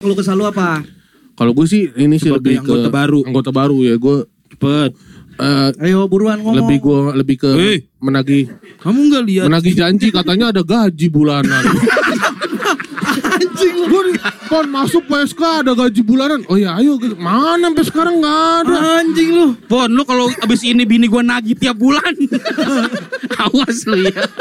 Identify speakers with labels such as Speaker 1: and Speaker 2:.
Speaker 1: Lu kesal lu apa?
Speaker 2: Kalau gue sih ini sih
Speaker 1: Sebagai
Speaker 2: lebih ke
Speaker 1: anggota baru.
Speaker 2: Anggota baru ya gue
Speaker 3: Cepet.
Speaker 2: eh,
Speaker 1: Ayo buruan ngomong.
Speaker 2: lebih gue lebih ke
Speaker 3: Hei.
Speaker 2: menagih
Speaker 3: Kamu nggak
Speaker 1: Iya.
Speaker 3: lihat?
Speaker 2: menagih janji katanya ada gaji bulanan. Anjing gue kon kan masuk PSK ada gaji bulanan. Oh ya ayo gitu. mana sampai sekarang nggak ada.
Speaker 1: anjing lu.
Speaker 3: Pon, lu kalau abis ini bini gua nagih tiap bulan. Awas lu ya.